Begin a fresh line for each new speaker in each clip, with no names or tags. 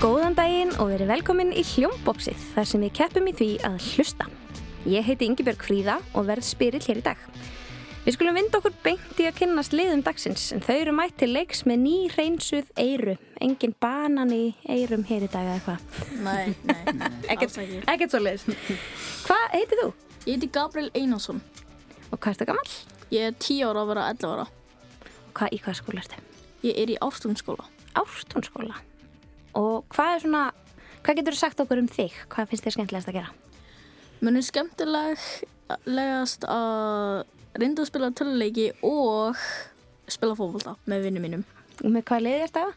daginn og verið velkomin í Hljómbóksið þar sem við keppum í því að hlusta. Ég heiti Ingibjörg Fríða og verð spyrill hér í dag. Við skulum vinda okkur beint í að kynnast liðum dagsins en þau eru mætt til leiks með ný reynsuð eyru. Engin banan í eyrum hér í dag eða eitthvað.
Nei, nei, alls ekki.
Ekkert svo leiðis. Hvað heitir þú?
Ég heiti Gabriel Einarsson.
Og hvað ertu gammal?
Ég er 10 ára að vera 11 ára.
Hvað, í hvað skóla ertu?
Ég er í árstundsskóla.
Ártúnsskóla. Og hvað er svona, hvað getur þú sagt okkur um þig? Hvað finnst þér skemmtilegast að gera?
Mér er skemmtilegast að reynda að spila töluleiki og spila fókvólda með vinnum mínum.
Með hvað liði ertu að?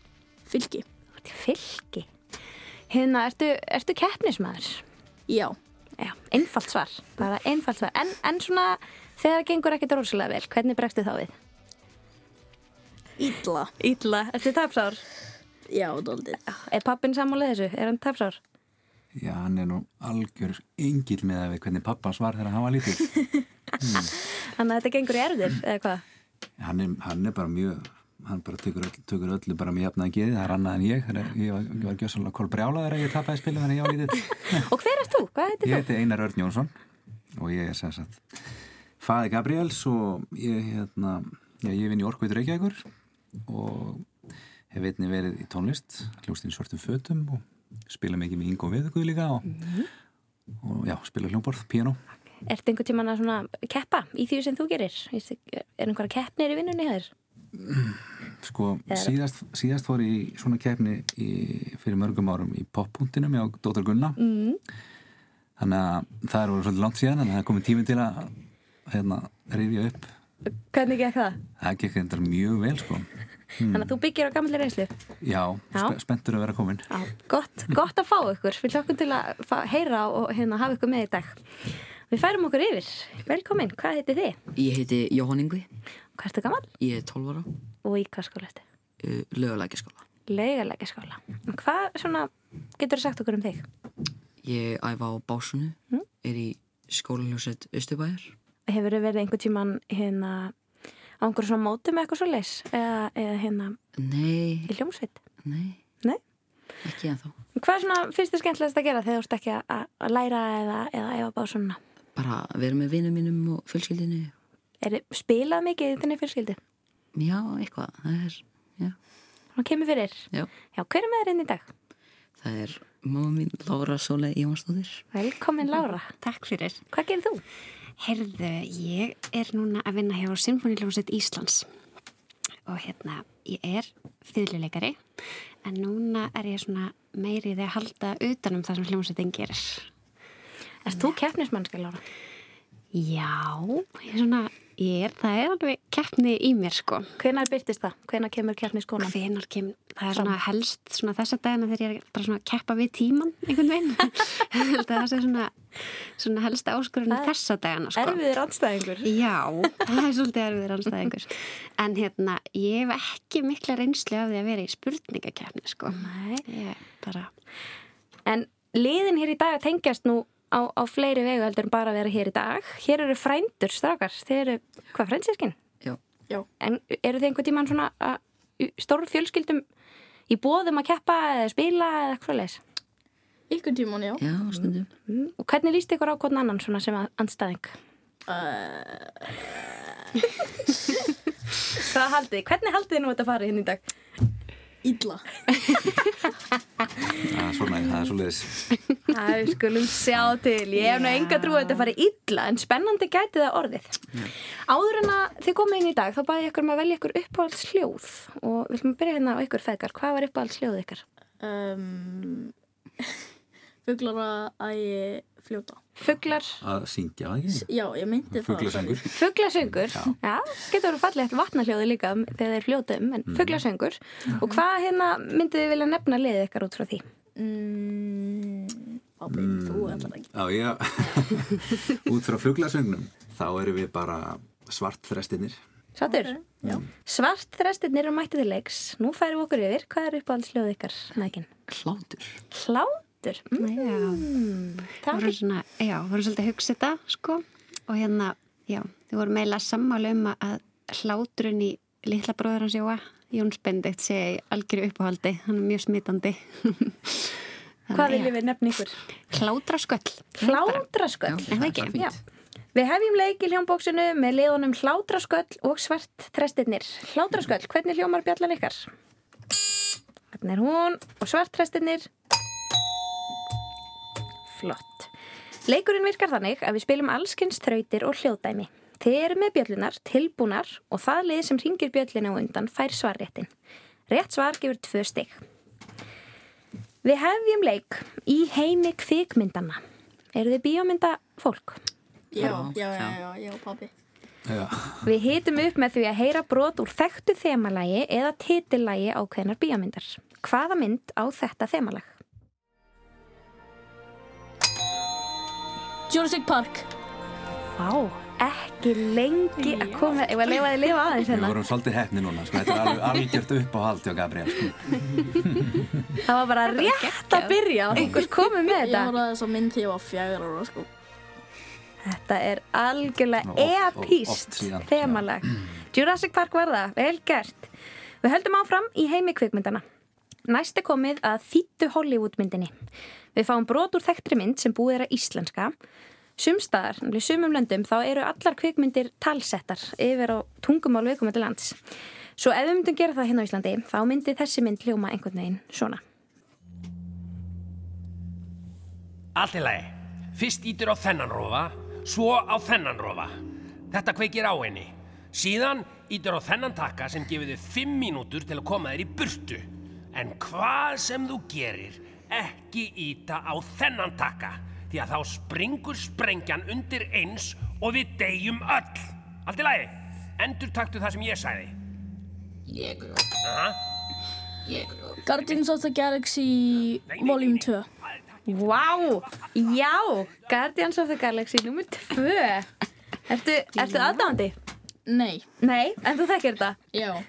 Fylki.
Þú ert í fylki. Hérna, ertu, ertu keppnismæður?
Já.
Já, einfalt svar. Bara einfalt svar. En, en svona, þegar það gengur ekkert rosalega vel, hvernig bregstu þá við?
Ítla.
Ítla. Ertu tapsár?
Já, dóldið.
Er pappin sammálið þessu? Er hann tapsár?
Já, hann er nú algjör engil með að við hvernig pappa svar þegar hann var lítill.
Þannig að þetta gengur í erfðir, eða hvað?
Hann er, hann er bara mjög, hann bara tökur, öll, tökur öllu bara mjög jafnaðan geðið, það er annað en ég. Þegar ég var, ég var gjössalega kól brjálaður að ég tapaði spilum þannig að ég var lítill.
Og hver ert þú? Hvað heitir þú?
Ég heiti Einar Örn Jónsson og ég er sem sagt faði Gabriels og ég, hérna, já, ég vinn í Orkveitur Reykjavíkur og hef einnig verið í tónlist, hljóstinn svörtum fötum og spila mikið með Ingo Viðuguð líka og, og já, spila hljómborð, piano.
Ertu einhvern tíman að svona keppa í því sem þú gerir? Er einhverja keppnir í vinnunni hér?
Sko, síðast, síðast fór ég í svona keppni í, fyrir mörgum árum í poppuntinum hjá Dóttar Gunna mm. þannig að það er voru svolítið langt síðan en það er komið tími til að hérna, rifja upp
Hvernig gekk það?
það gekk þetta mjög vel sko
Þannig að þú byggir á gamlega reynslu?
já,
Já.
spe spenntur að vera komin
Já, gott, gott að fá ykkur. Við hlökkum til að fá, heyra og hérna, hafa ykkur með í dag. Við færum okkur yfir. Velkomin, hvað heitir þið?
Ég heiti Jóhann Ingvi,
Hvað ertu gammal?
ég er 12 ára,
Og í hvað skóla ertu?
uh, lögulækjaskóla.
Laugalega skóla. Hvað svona, getur þú sagt okkur um þig?
Ég æfa á Básunu, er í skólanljóset Östubæjar.
Hefur þið verið einhvern tíman hérna, á einhverjum svona mótum eitthvað svo leis? Eða, eða hérna
Nei,
í hljómsveit?
nei,
Nei?
ekki ennþá.
Hvað svona finnst þið skemmtilegast að gera þegar þú ert ekki að, að læra eða, eða efa bá svona?
Bara vera með vinum mínum og fjölskyldinu.
Er þið spilað mikið í þenni fjölskyldu?
Já, eitthvað, það er, já,
Hún kemur fyrir.
já.
Já, hver er með þér inn í dag?
Það er mamma mín, Lára Sólei Jónsdóttir.
Velkomin Lára.
Takk fyrir.
Hvað gerir þú?
Herðu, ég er núna að vinna hjá Symfóniljónsett Íslands og hérna, ég er fyrirleikari en núna er ég svona meirið að halda utanum það sem hljómsettin gerir.
Erst þú keppnismannska, Lára?
Já, ég er svona, ég er, það er alveg keppni í mér sko.
Hvenær byrtist það? Hvenær kemur keppniskonan?
Hvenar kem, það er svona helst svona þessa dagina þegar ég er bara svona að keppa við tíman einhvern veginn. Ég held að það sé svona, svona helst áskurinn
Það er
þessa dagina sko.
Erfiðir andstæðingur.
Já, það er svolítið erfiður anstæðingur. En hérna, ég hef ekki mikla reynslu af því að vera í spurningakefni, sko.
Nei.
Ég bara,
En liðin hér í dag tengjast nú á, á fleiri vegu heldur en bara að vera hér í dag. Hér eru frændur strákar. Þeir eru, hvað, frændsirkin?
Já,
Já.
En eru þið einhvern tíman svona að- í stóru fjölskyldum í bóðum að keppa eða spila eða eitthvað svoleiðis?
Ykkur tíman, já.
já, stundum.
Mm. Og hvernig líst ykkur á hvern annan svona sem að- andstæðing? Uh. Hvað haldið? þið? Hvernig haldið þið nú þetta farið hinn í dag?
Ítla.
það er svona, það er svo leiðis
Það við skulum sjá til. Ég hef nú enga trú að þetta fari illa, en spennandi gæti það orðið. Áður en að þið komið inn í dag, þá bæði ég ykkur um að velja ykkur uppáhalds hljóð og við viljum byrja hérna á ykkur feðgar. Hvað var uppáhalds hljóð ykkar?
Um, Fuglara að ég fljóta.
Fuglar,
að syngja, það ekki?
Já, ég myndi það.
Fuglasengur
fuglasöngur. Já, getur verið fallið eftir vatnahljóði líka um- þegar þeir fljóta um, en fuglasöngur. Og hvað hérna myndið þið vilja nefna liðið ykkar út frá því?
Mm, Pabbi, þú er það ekki.
Já, já, út frá fuglasöngnum þá erum við bara svartþrestinir
Sattur?
Já.
Svart þrestirnir eru mættið í leiks. Nú færum við okkur yfir. Hvað er uppáhalds hljóð ykkar, Nækin?
Hlátur.
Hlátur? Mm.
já, það
Það
voru svona, já, voru svolítið að hugsa þetta, sko. Og hérna, já, þið voru meila sammála um að hláturinn í litla bróður hans Jóa, Jóns Bendit, sé í algjöru uppáhaldi. Hann er mjög smitandi.
Hvað viljum við nefna ykkur?
Klátra sköll.
Hlátrasköll.
Já,
það ekki?
fínt.
Já. Við hefjum leik í hljómbóksinu með liðunum hlátrasköll og svart þrestirnir. Hlátrasköll, hvernig hljómar bjallan ykkar? Hvernig er hún? Og svart þrestirnir? Flott. Leikurinn virkar þannig að við spilum allskins þrautir og hljóðdæmi. Þið eru með bjöllunar, tilbúnar og það lið sem ringir bjöllina á undan fær svarréttin. Rétt svar gefur tvö stygg. Við hefjum leik í heimi kvikmyndana. Eru þið bíómynda fólk?
Já, já, já, já, já, pabbi.
Já.
Við hitum upp með því að heyra brot úr þekktu þemalægi eða titillægi ákveðnar bíómyndar. Hvaða mynd á þetta þemalag?
Jurassic Park.
Vá, ekki lengi að koma, ef að leifa þið lifa aðeins
Við
hérna.
vorum svolítið hefni núna, sko, þetta er alveg algjört upp á hjá Gabriel, sko.
Það var bara rétt að byrja og einhvers komið með
Ég
þetta.
voru að þess að mynd því ég var fjagur ára, sko.
Þetta er algjörlega
Og oft- og oft
epíst
síðan, já.
þemalag. Jurassic Park var það, vel gert. Við höldum áfram í heimi kvikmyndana. Næst er komið að þýttu Hollywoodmyndinni. Við fáum brot úr þekktri mynd sem búið er að íslenska. Sumstaðar, nefnilega í sumum löndum, þá eru allar kvikmyndir talsettar yfir á tungumál viðkomandi lands. Svo ef við myndum gera það hérna á Íslandi, þá myndi þessi mynd hljóma einhvern veginn svona.
Allt í lagi. Fyrst ítur á þennan rofa, svo á þennan rofa. Þetta kveikir á henni. Síðan ítur á þennan takka sem gefur þið fimm mínútur til að koma þér í burtu. En hvað sem þú gerir, ekki íta á þennan takka. Því að þá springur sprengjan undir eins og við deyjum öll. Allt í lagi. Endur taktu það sem ég sagði.
Guardians of the Galaxy Volume 2.
Vá, já, Guardians of the Galaxy nr. 2 Ertu, ertu aðdáandi?
Nei,
Nei, en þú þekkir þetta
já.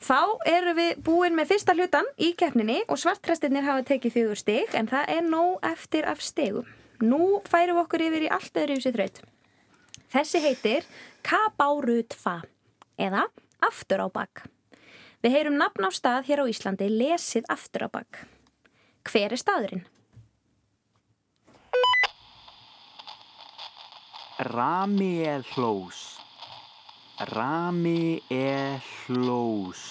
Þá erum við búin með fyrsta hlutan í keppninni og svartrestirnir hafa tekið fjögur stig en það er nóg eftir af stigum. Nú færum við okkur yfir í allt öðru þessi þraut. Þessi heitir Kabárutfa eða Aftur á bak. Við heyrum nafn á stað hér á Íslandi lesið Aftur á bak. Hver er staðurinn?
Rami er hlós. Rami er hlós.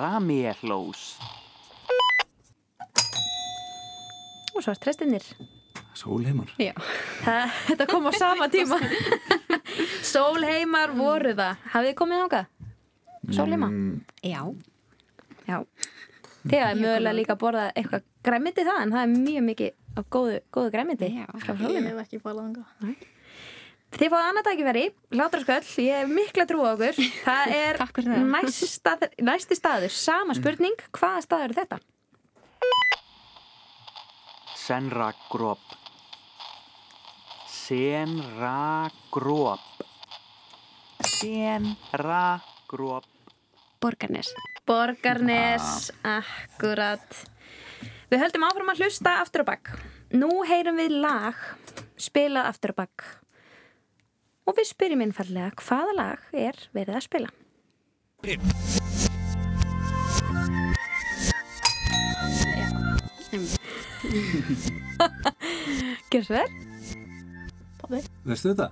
Rami er hlós.
Og svartrestirnir.
Sólheimar.
Já. Þetta kom á sama tíma. Sólheimar voru það. Hafið þið komið þangað? Sólheima?
Mm. Já.
Já. Þegar er mögulega líka að borða eitthvað græmiti það en það er mjög mikið af góðu, góðu græmiti
Já.
frá
Ég
hlóðinu.
hef ekki farið þangað.
Þið fáið annað tækifæri, hlátrasköll, ég hef mikla trú á okkur. Það er
Takk fyrir það.
næsta, næsti staður, sama spurning, hvaða staður er þetta?
Senragrop. Senragrop. Senragrop.
Borgarnes.
Borgarnes, akkurat. Við höldum áfram að hlusta aftur á bakk. Nú heyrum við lag, spilað aftur á bakk. Og við spyrjum innfallega hvaða lag er verið að spila. Gjörðu þér?
Veistu þetta?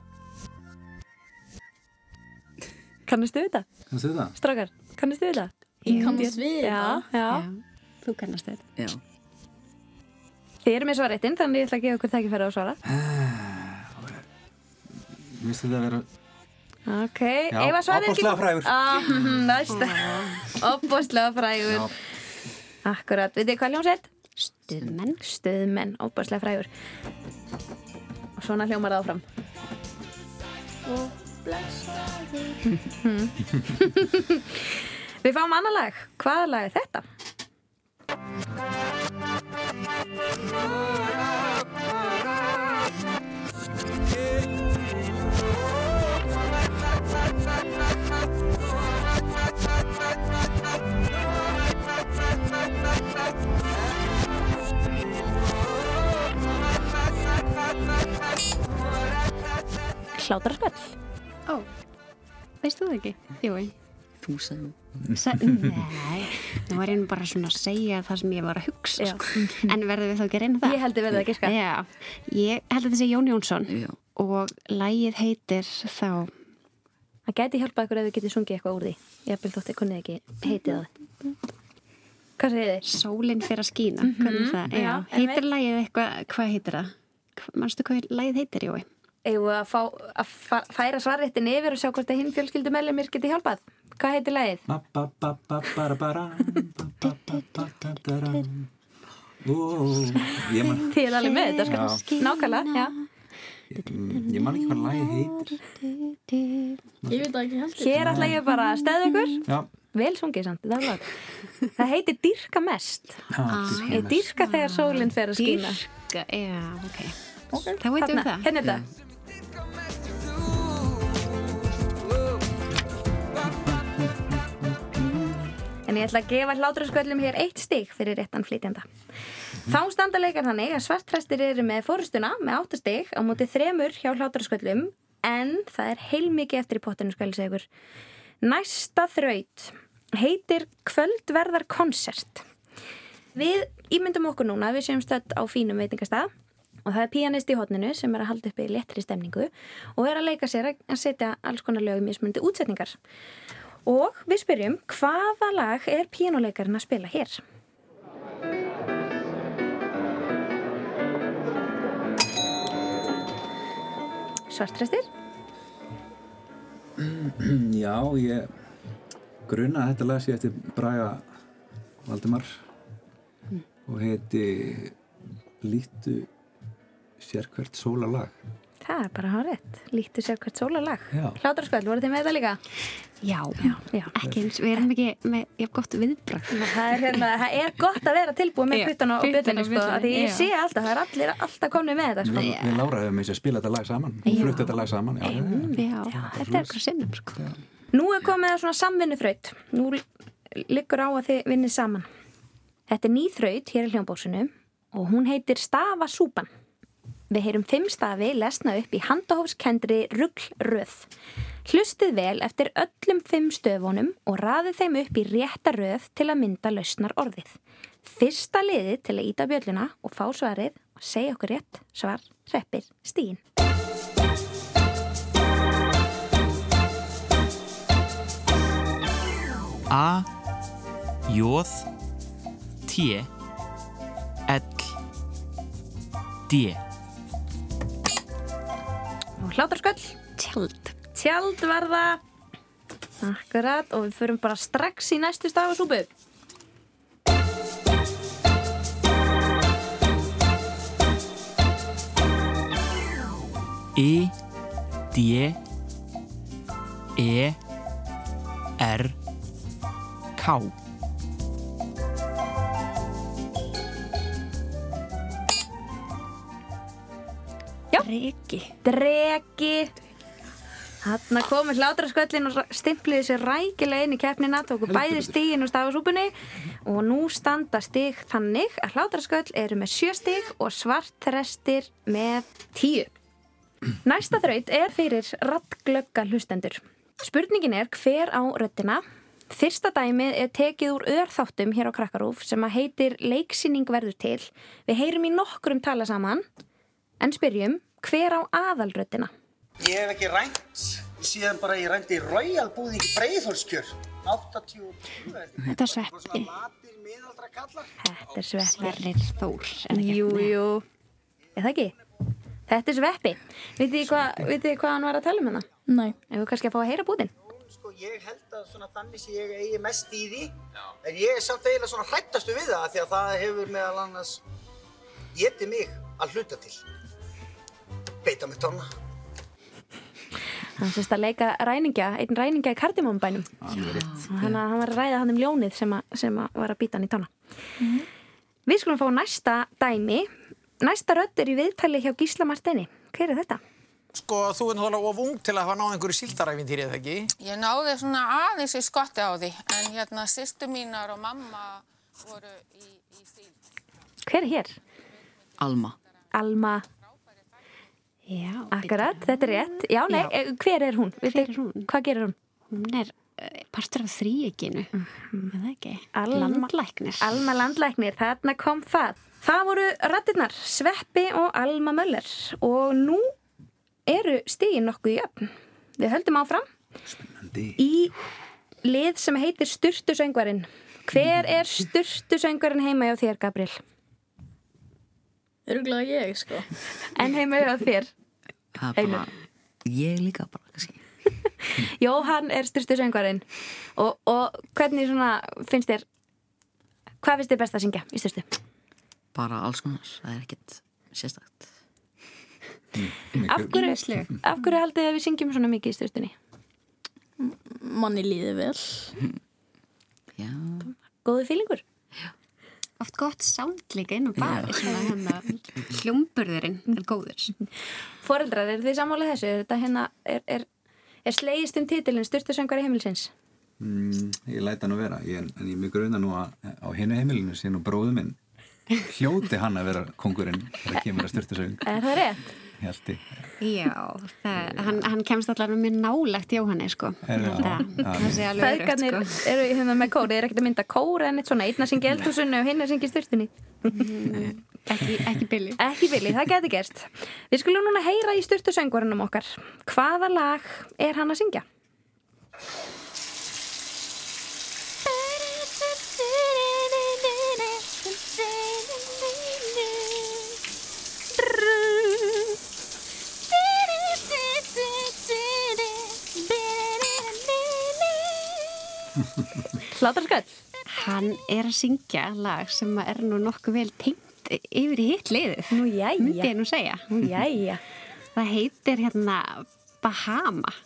Kannastu við þetta?
Kannastu þetta?
Strákar, kannastu við þetta?
Ég kannast við
Já,
þetta.
já.
Þú kannast þetta.
Já.
Þið eru með svarettinn, þannig ég ætla að gefa okkur tækifæra á svara.
Veistu þetta að vera...
Ok, ef að svarið er ekki...
ofboðslega frægur.
Ah, mhm, Næsta. Opbóstlega frægur. Akkurat, veit þið hvað hljómsveit?
Stuðmenn.
Stöðmenn, opbóstlega frægur. Og svona hljómar það áfram. Við fáum annað lag. Hvaða lag er þetta? Hlátrarspöll.
Ó, veist þú það ekki? Jú,
Þú sagði
Sa Nei, nú er ég nú bara svona að segja það sem ég var að hugsa
Já.
sko. En verðum við þá ekki að reyna það?
Ég held að verða að giska.
Já, ég held að þetta sé Jón Jónsson
Já.
Og lægið heitir þá
Það gæti hjálpað ykkur ef þið getið sungið eitthvað úr því. Ég hafði þótt kunnið ekki heitið það. Hvað segir þið?
Sólinn fyrir að skína Hvernig það? Já,
Mhm, já,
heitir
einmitt.
lægið eitthvað, hvað heitir það? Hva- Manstu hvað lægið heitir, Jói?
Eigum við að, fá, að fa- færa svarréttin yfir og sjá hvort að hinn fjölskyldu meðlemir getið hjálpað? Hvað heitir lagið?
Ba, ba, ba, ba, bara, bara, ba, ba, ba, ba, bara. Ó, Ég man
Þið er alveg með þetta, sko. Nákvæmlega, já.
mm, ég man ekki hvað lagið heitir
Ég veit það ekki heldur.
Hér ætla ég bara að stæða ykkur.
Já,
Vel sungið samt, það var. Það heitir dýrka mest.
já, dýrka
Ég
mest.
dýrka þegar sólinn fer að skína.
Dýrka, já, ok Þá veitum
Þarna,
við það
hérna er þetta. En ég ætla að gefa hlátrasköllum hér eitt stig fyrir réttan flytjanda. Þá standa leikar þannig að svartræstir eru með fórustuna með áttastig á móti þremur hjá hlátrasköllum en það er heilmikið eftir í pottinu skvæli segur. Næsta þraut heitir Kvöldverðarkonsert. Við ímyndum okkur núna að við séum stödd á fínum veitingastað og það er píanist í hotninu sem er að halda uppi í léttri stemningu og er að leika sér að að setja alls konar lögum í smundi útsetningar. Og við spyrjum hvaða lag er píanuleikarinn að spila hér? Svartræstir?
Já, ég gruna að þetta lag sé eftir Braga Valdimar og heiti Lítu sérkvert sólalag
Það er bara hár rétt. Lítu sér hvert sólalag.
Já.
Hlátrasköld, voru þið með það líka?
Já,
Hérna. Já.
ekki eins, við erum ekki með, ég hef gott viðbröð
Það er, hérna, það er gott að vera tilbúið með
Já,
puttan og
puttann
byttinni
á
sko,
buddunni,
að því ég
já.
sé alltaf, það er allir alltaf komnið með þetta sko.
Við, við Lára hefum eins og spila þetta lag saman og flutt þetta lag saman já, já,
Mm.
já.
Já, þetta er okkur sinnum sko
Nú er komið að svona samvinnufraut. Nú liggur á að þið vinnið saman. Þetta er ný þraut hér í hljómbóksinu og hún heitir Stafasúpan. Við heyrum fimm stafi lesna upp í handahófskendri rugglröð. Hlustið vel eftir öllum fimm stöfunum og raðið þeim upp í rétta röð til að mynda lausnar orðið. Fyrsta liðið til að íta bjölluna og fá svarið og segja okkur rétt svar hreppir stíin.
A Jóð T L D
Og hlátarsköll.
Tjald
tjaldverða Akkurat og við förum bara strax í næstu stafasúpu
E D E R K
Riki
Dregi Þarna komu hlátrasköllin og stimpliði sér rækilega inn í keppnina tóku bæði stígin og stafasúpunni og nú standa stíg þannig að hlátrasköll eru með sjö stíg og svartrestir með tíu Næsta þraut er fyrir rattglögga hlustendur. Spurningin er hver á röddina? Fyrsta dæmið er tekið úr örþáttum hér á Krakkarúf sem að heitir Leiksýning verður til. Við heyrum í nokkrum tala saman en spyrjum hver á aðalröddina?
Ég hef ekki rænt síðan bara ég rændi í Royal búðing í Breiðhólskjör 82
Þetta er sveppi
Latir miðaldra kallar
Þetta er sveppi.
Verrir Þór er það ekki?
Jú, jú. Er það ekki? Þetta er sveppi. Vitið þið hvað, vitið þið hvað hann var að tala um hana?
Nei.
Ef við kannski að fá að heyra bútin.
Sko ég held að svona þannig sem ég eigi mest í því En ég er samt eiginlega svona hrættastu við það af Því að það hefur meðal annars Getið mig að hluta til Beita mig tóna
Hann sérst að leika ræningja, einn ræningja í kardimumbænum.
Alveg rétt.
Þannig að hann var að ræða hann um ljónið sem, að, sem að var að býta hann í tána. Mhm. Við skulum fá næsta dæmi. Næsta rödd er í viðtali hjá Gísla Martini. Hver er þetta?
Sko þú er náttúrulega of ung til að hafa náð einhverju síldaræfintýri eða ekki
Ég náði svona aðeins í skotti á því, en hérna sýstu mínar og mamma voru í, í síld.
Hver er hér?
Alma.
Alma
Já,
Akkurat, þetta er rétt. Já, nei,
Já.
eh, hver er hún? Hver
er hún?
Hvað gerir hún?
hún er eh, partur af þríeginu er það ekki?
Mhm. Alma-
landlæknir
Alma landlæknir, þarna kom það. Það voru rattirnar, Sveppi og Alma Möller og nú eru stigin nokkuð í öfn. Við höldum áfram
Andi,
í lið sem heitir Sturtusöngvarinn. Hver er Sturtusöngvarinn heima hjá þér, Gabriel?
Öruglega ég, sko.
En heima hjá þér?
Það er bara, ég líka bara, kannski.
Jóhann er Sturtusöngvarinn. Og, og hvernig svona finnst þér, hvað finnst þér best að syngja í Sturtu?
Bara alls konar, það er ekkert sérstakt.
Af hverju,
Ýmislegt.
af hverju haldið þið að við syngjum svona mikið í Sturtunni?
Manni líði vel.
Já,
Góðu fílingur?
oft gott sound líka inn á bari svona hérna hljómburðurinn er góður
Foreldrar, er þið sammálið þessu? Er, þetta hérna, er, er, er slegist um titilin Sturtusöngvari heimilsins?
mm, ég læta nú vera ég, en ég mjög gruna nú að á hennu heimilinu sé nú bróðu minn hljóti hann að vera kongurinn þegar kemur að um, styrtusöfing
Er það rétt?
Hjalti,
já, það, hann, hann kemst allavega mjög nálægt Jóhanni sko
Er það?
það,
Já.
það sé alveg öruggt
Feðgarnir
sko
eru hérna með kóri, er ekkert að mynda kóra en eitt svona, einn að syngja eldhúsunni og hinn að syngja í Sturtunni.
ekki, ekki billi
Ekki vilji, það geti gerst. Við skulum núna heyra í Sturtusöngvarinum okkar. Hvaða lag er hann að syngja? Hlátarskall.
hann er að syngja lag sem að er nú nokkuð vel tengt yfir í hitt liðið
Nú jæja.
myndi ég nú segja
Nú, Jæja.
það heitir hérna Bahama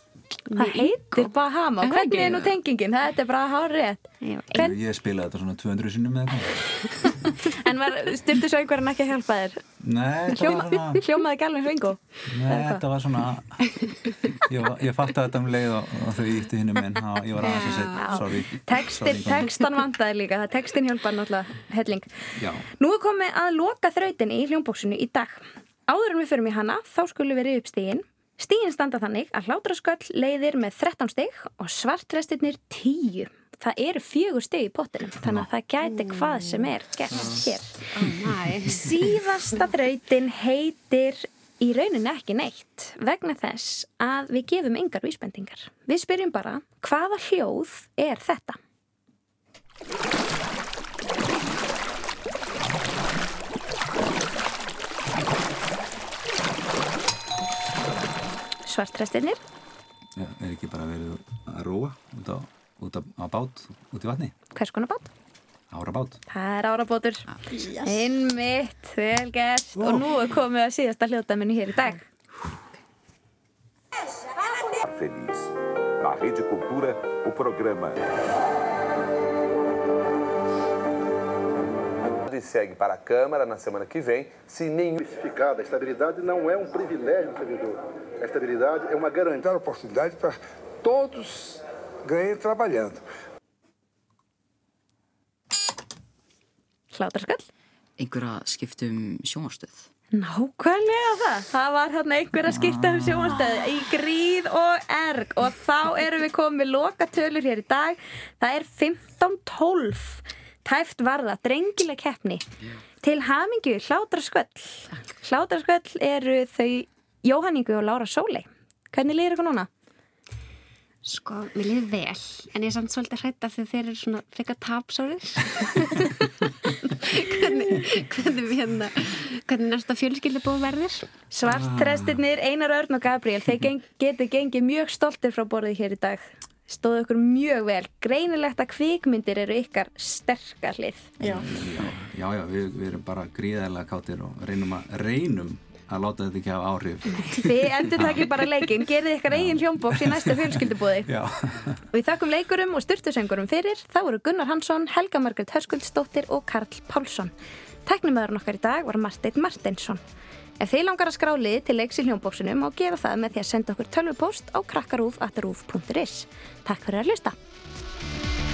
Það heitir Bahama.
Er það
Hvernig
ekki?
er nú tengingin? Þetta er bara hár rétt.
heitir
Hvern-
ég spilaði þetta svona 200 sinnum með þetta
En var Sturtusöngvarinn ekki að hjálpa þér?
Nei, þetta var
Hljóma,
svona
hljómaði ekki alveg svingu.
Nei, þetta var svona ég, var- ég fatt að þetta um leið og, og þau ítti hinnum en þá- ég var aðeins að setja, sorry
Tekstin,
Sorry, Inga.
tekstan vandaði líka, það tekstin hjálpar náttúrulega helling.
Já.
Nú er komið að loka þrautinni í hljómbóksinu í dag. Áður en við förum í hana, þá skulum við riða upp stígin. Stígin standa þannig að hlátrasköll leiðir með 13 stig og svartrestirnir 10. Það eru fjögur stig í pottinum, þannig að það gæti hvað sem er gert hér.
Næ,
Síðasta þrautin heitir í rauninni ekki neitt vegna þess að við gefum engar vísbendingar. Við spyrjum bara hvaða hljóð er þetta? Svartrestirnir,
Já, er ekki bara verið að róa út á, út á, á bát, út í vatni
hvers konar bát?
ára bát
Það er árabótur. Yes. Einmitt, vel gert. Og nú er komið að síðasta hljóðdæminu hér í dag.
Feliz. Na Rede Cultura, o programa. E segue para a Câmara na semana que vem, se nenhum.
A estabilidade não é um privilégio do servidor. A estabilidade é uma garantia. Dar oportunidade para todos ganhem trabalhando.
Hlátarskall.
einhverja um skiptum sjónvarstöð.
Nákvæmlega það. Það var hérna einhver að skipta um sjónastöðu í gríð og erg og þá erum við komið loka tölur hér í dag. Það er 15-12. Tæft varða, drengileg keppni. Til hamingju, hlátrasköll. Hlátrasköll eru þau Jóhanningu og Lára Sólei. Hvernig lýðir ykkur núna?
sko, mér liði vel en ég er samt svolítið hrætt af því þeir eru svona frekar tapsárir hvernig, hvernig við hérna hvernig næsta fjölskyldi búið verður
Svartrestirnir, Einar Örn og Gabriel, þeir geng, getur gengið mjög stoltir frá borðið hér í dag. Stóðu ykkur mjög vel. Greinilegt að kvikmyndir eru ykkar sterkar hlið.
já, já, já við, við erum bara gríðarlega kátir og reynum að, reynum að láta þetta ekki hafa áhrif
Þið endur takir bara leikinn, gerðið ykkar eigin hljómbóks í næsta fjölskyldubóði.
já,
Við þakkum leikurum og styrtusöngurum fyrir. Það voru Gunnar Hansson, Helga Margrét Höskuldsdóttir og Karl Pálsson. Tæknumöðurinn okkar í dag var Marteinn Marteinsson. Ef þið langar að skrá liði til leiks í hljómbóksinum má gera það með því að senda okkur tölvupost á krakkarúf.ruf.is. Takk fyrir að hlusta.